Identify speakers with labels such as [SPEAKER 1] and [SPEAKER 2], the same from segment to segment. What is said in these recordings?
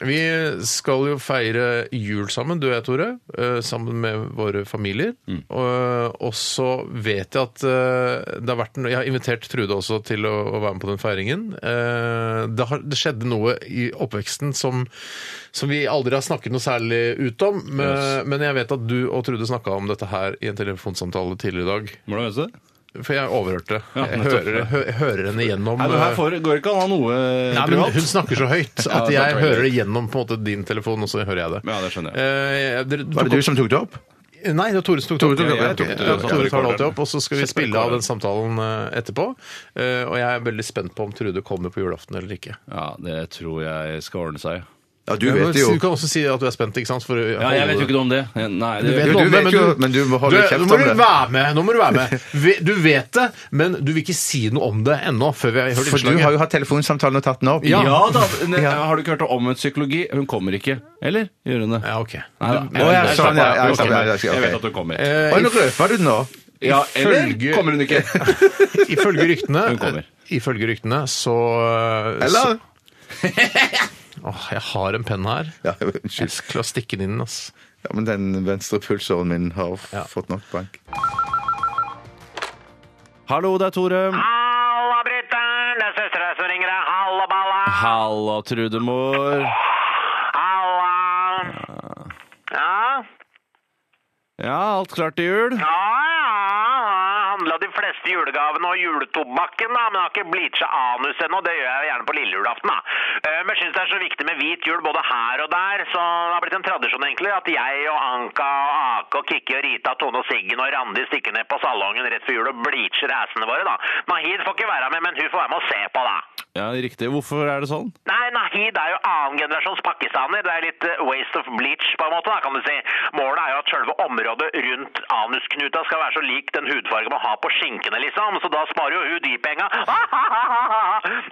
[SPEAKER 1] Vi skal jo feire jul sammen, du og jeg, Tore, eh, sammen med våre familier.
[SPEAKER 2] Mm.
[SPEAKER 1] Og, og så vet jeg at eh, det har vært noe Jeg har invitert Trude også til å, å være med på den feiringen. Eh, Det, har, det skjedde noe i oppveksten som, som vi aldri har snakket noe særlig ut om, men, men jeg vet at du og Trude snakka om dette her i en telefonsamtale tidligere i dag.
[SPEAKER 2] Hvordan vet du det?
[SPEAKER 1] For jeg overhørte det.
[SPEAKER 2] Ja,
[SPEAKER 1] jeg
[SPEAKER 2] nettopp.
[SPEAKER 1] hører, hø, hører henne gjennom
[SPEAKER 2] Nei, det
[SPEAKER 1] eh,
[SPEAKER 2] her får, går ikke an å ha noe
[SPEAKER 1] Nei, men
[SPEAKER 2] privat.
[SPEAKER 1] hun snakker så høyt
[SPEAKER 2] Ja,
[SPEAKER 1] at jeg
[SPEAKER 2] det tror jeg
[SPEAKER 1] hører det gjennom på en måte din telefon, og så hører jeg det.
[SPEAKER 2] Ja, det skjønner jeg.
[SPEAKER 1] Eh, dere-
[SPEAKER 3] Var det du som tok det opp?
[SPEAKER 1] Nei, det var Tore som tok
[SPEAKER 3] Tore
[SPEAKER 1] det
[SPEAKER 3] tok
[SPEAKER 1] opp.
[SPEAKER 3] det
[SPEAKER 1] Jeg
[SPEAKER 3] opp, ja.
[SPEAKER 1] tok det opp.
[SPEAKER 3] Ja,
[SPEAKER 1] Ja, Tore tar det alltid
[SPEAKER 2] Kjemperekord.
[SPEAKER 1] opp, og så skal vi spille av den samtalen eh, etterpå. Eh, Og jeg er veldig spent på om Trude kommer på julaften eller ikke.
[SPEAKER 2] Ja, det tror jeg skal ordne seg.
[SPEAKER 3] Ja, du
[SPEAKER 1] Men
[SPEAKER 3] vet det jo.
[SPEAKER 1] Du kan også si at du er spent, ikke sant? For å
[SPEAKER 2] Ja, jeg
[SPEAKER 1] holde-
[SPEAKER 2] vet jo ikke noe om det. Nei,
[SPEAKER 1] Du
[SPEAKER 2] det
[SPEAKER 1] vet
[SPEAKER 3] Jo,
[SPEAKER 1] noe
[SPEAKER 3] du
[SPEAKER 1] om det,
[SPEAKER 3] vet jo, men du må holde kjeft
[SPEAKER 1] nå må
[SPEAKER 3] om
[SPEAKER 1] du
[SPEAKER 3] det.
[SPEAKER 1] Være med, nå må du være med. Vi- Du vet det, men du vil ikke si noe om det ennå før vi har hørt
[SPEAKER 3] For du
[SPEAKER 1] innslaget.
[SPEAKER 3] har jo hatt telefonsamtalen og tatt den opp.
[SPEAKER 1] Ja.
[SPEAKER 2] Ja da! ne- Har du ikke hørt om en psykologi? Hun kommer ikke. Eller? Gjør hun det?
[SPEAKER 1] Ja, ok.
[SPEAKER 2] Nei da.
[SPEAKER 3] Å, ja, sånn, ja, ja,
[SPEAKER 2] Hun
[SPEAKER 3] sånn, ja,
[SPEAKER 2] kommer.
[SPEAKER 3] ja, ok.
[SPEAKER 2] Jeg vet at hun kommer.
[SPEAKER 1] Eh,
[SPEAKER 3] Oi, nå røpa du den nå.
[SPEAKER 2] Ja, eller
[SPEAKER 1] ifølge-
[SPEAKER 2] kommer hun ikke?
[SPEAKER 1] Ifølge ryktene eh,
[SPEAKER 2] Hun kommer.
[SPEAKER 1] Ifølge ryktene så
[SPEAKER 3] Eller?
[SPEAKER 1] så- Åh, jeg har en penn her.
[SPEAKER 3] Ja,
[SPEAKER 1] Jeg
[SPEAKER 3] unnskyld.
[SPEAKER 1] skal stikke den inn, ass.
[SPEAKER 3] Ja, men den venstre pulsåren min har f-
[SPEAKER 1] Ja.
[SPEAKER 3] fått nok bank.
[SPEAKER 2] Hallo, det er Tore.
[SPEAKER 4] Halla, brutter'n! Det er søstera som ringer deg. Halla, balla!
[SPEAKER 2] Halla, Trudemor.
[SPEAKER 4] Halla! Ja?
[SPEAKER 2] Ja, alt klart til jul?
[SPEAKER 4] Ja, ja. Handla de fleste julegavene og juletobakken, da, men har ikke bleacha anus ennå. Det gjør jeg jo gjerne på lille julaften, da. Eh, Men syns det er så viktig med hvit jul både her og der, så det har blitt en tradisjon, egentlig, at jeg og Anka og Ake og Kikki og Rita, Tone og Siggen og Randi stikker ned på salongen rett før jul og bleacher assene våre, da. Nahid får ikke være med, men hun får være med og se på, da.
[SPEAKER 2] Ja, riktig. Hvorfor er det sånn?
[SPEAKER 4] Nei, Nahid er jo annen generasjons pakistaner. Det er litt eh, waste of bleach, på en måte, da, kan du si. Målet er jo at selve området rundt anusknuta skal være så lik den hudfargen man har på skinkene, liksom. Så da sparer jo hun de penga.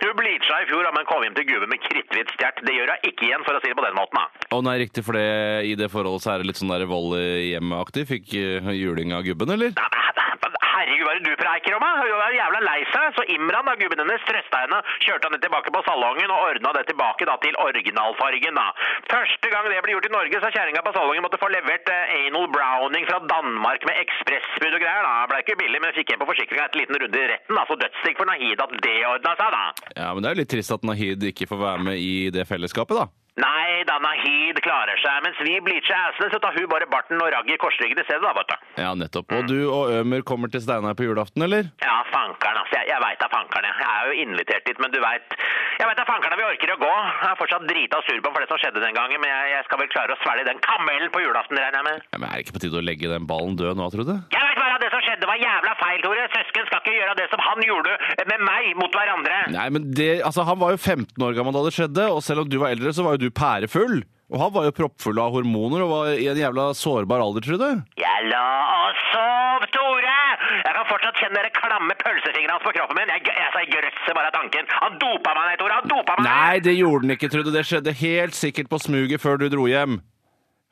[SPEAKER 4] Hun bleacha i fjor, da, men kom hjem til gubben med kritthvitt stjert. Det gjør hun ikke igjen, for å si det på den måten, da.
[SPEAKER 2] Å nei, riktig, for det, i det forholdet så er det litt sånn der vold i hjemmet-aktig. Fikk eh, juling av gubben, eller?
[SPEAKER 4] Nei, men- men Herregud, hva er det du preiker om? da? Hun var jævla lei seg. Så Imran, da, gubben hennes, trøsta henne, kjørte henne tilbake på salongen og ordna det tilbake da, til originalfargen. da. Første gang det ble gjort i Norge, så kjerringa på salongen måtte få levert eh, anal browning fra Danmark med ekspressbud og greier. da. Det Ble ikke billig, men fikk hjem på forsikringa etter en liten runde i retten. da, Så dødsdigg for Nahid at det ordna seg, da.
[SPEAKER 2] Ja, men det er jo litt trist at Nahid ikke får være med i det fellesskapet, da.
[SPEAKER 4] Nei, da Nahid klarer seg. Mens vi bleacher assene, så tar hun bare barten og ragget i korsryggen i stedet, da, vet du.
[SPEAKER 2] Ja, nettopp. Og du og Ømer kommer til Steinar på julaften, eller?
[SPEAKER 4] Ja, fankeren, altså. Jeg, jeg veit det er fankeren. jeg. Jeg er jo invitert dit, men du veit Jeg veit det er fankeren vi orker å gå. Jeg er fortsatt drita sur på for det som skjedde den gangen, men jeg, jeg skal vel klare å svelge den kamelen på julaften, regner jeg med.
[SPEAKER 2] Ja, men Er det ikke på tide å legge den ballen død nå, tror du?
[SPEAKER 4] Jeg veit bare at det som skjedde, var jævla feil, Tore. Søsken skal ikke gjøre det som han gjorde eh, med meg mot hverandre.
[SPEAKER 2] Nei, men det, altså, Han var jo 15 år gammel da det skjedde, og selv om du var eldre, så var jo du pærefull. Og han var jo proppfull av hormoner og var i en jævla sårbar alder, Trude.
[SPEAKER 4] Jeg la og sov, Tore! Jeg kan fortsatt kjenne de klamme pølsefingrene hans på kroppen min. Jeg, jeg, jeg grøsser bare av tanken. Han dopa meg, nei, Tore. Han dopa meg!
[SPEAKER 2] Nei, det gjorde den ikke, Trude. Det skjedde helt sikkert på smuget før du dro hjem.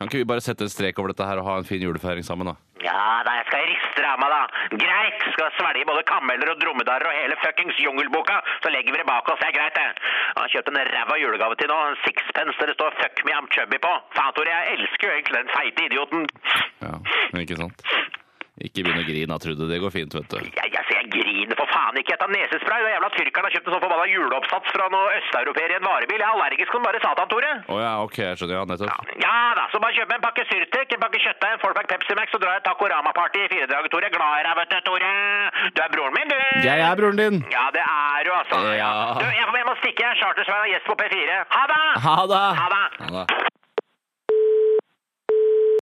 [SPEAKER 2] Kan ikke vi bare sette en strek over dette her og ha en fin julefeiring sammen, da?
[SPEAKER 4] Ja da, jeg skal riste det av meg, da. Greit! Skal svelge både kameler og dromedarer og hele fuckings jungelboka, så legger vi det bak oss. Det er greit, det. Jeg har kjøpt en ræva julegave til nå, en sixpence der det står 'fuck me, I'm chubby' på. Faen, Tore, jeg elsker jo egentlig den feite idioten.
[SPEAKER 2] Ja, ikke sant? Ikke begynn å grine da, Trude. Det går fint, vet du.
[SPEAKER 4] Jeg, jeg, jeg griner for faen ikke etter nesespray. Den jævla tyrkeren har kjøpt en sånn forbanna juleoppsats fra noen østeuropeere i en varebil. Jeg er allergisk som bare satan, Tore.
[SPEAKER 2] Å ja, OK, jeg skjønner. Ja, nettopp.
[SPEAKER 4] Ja da, så bare kjøp meg en pakke Syrtek, en pakke kjøttdeig, en fourpack Pepsi Max, så drar jeg Takorama-party i fire dager, Tore. Glad i deg, vet du, Tore. Du er broren min, du.
[SPEAKER 2] Jeg er broren din!
[SPEAKER 4] Ja, det er du, altså.
[SPEAKER 2] Ja.
[SPEAKER 4] Du, jeg, må- jeg må stikke. Jeg er Chartersveien og gjest på P4. Ha det!
[SPEAKER 2] Ha det!
[SPEAKER 4] Ha det.
[SPEAKER 2] Ha det.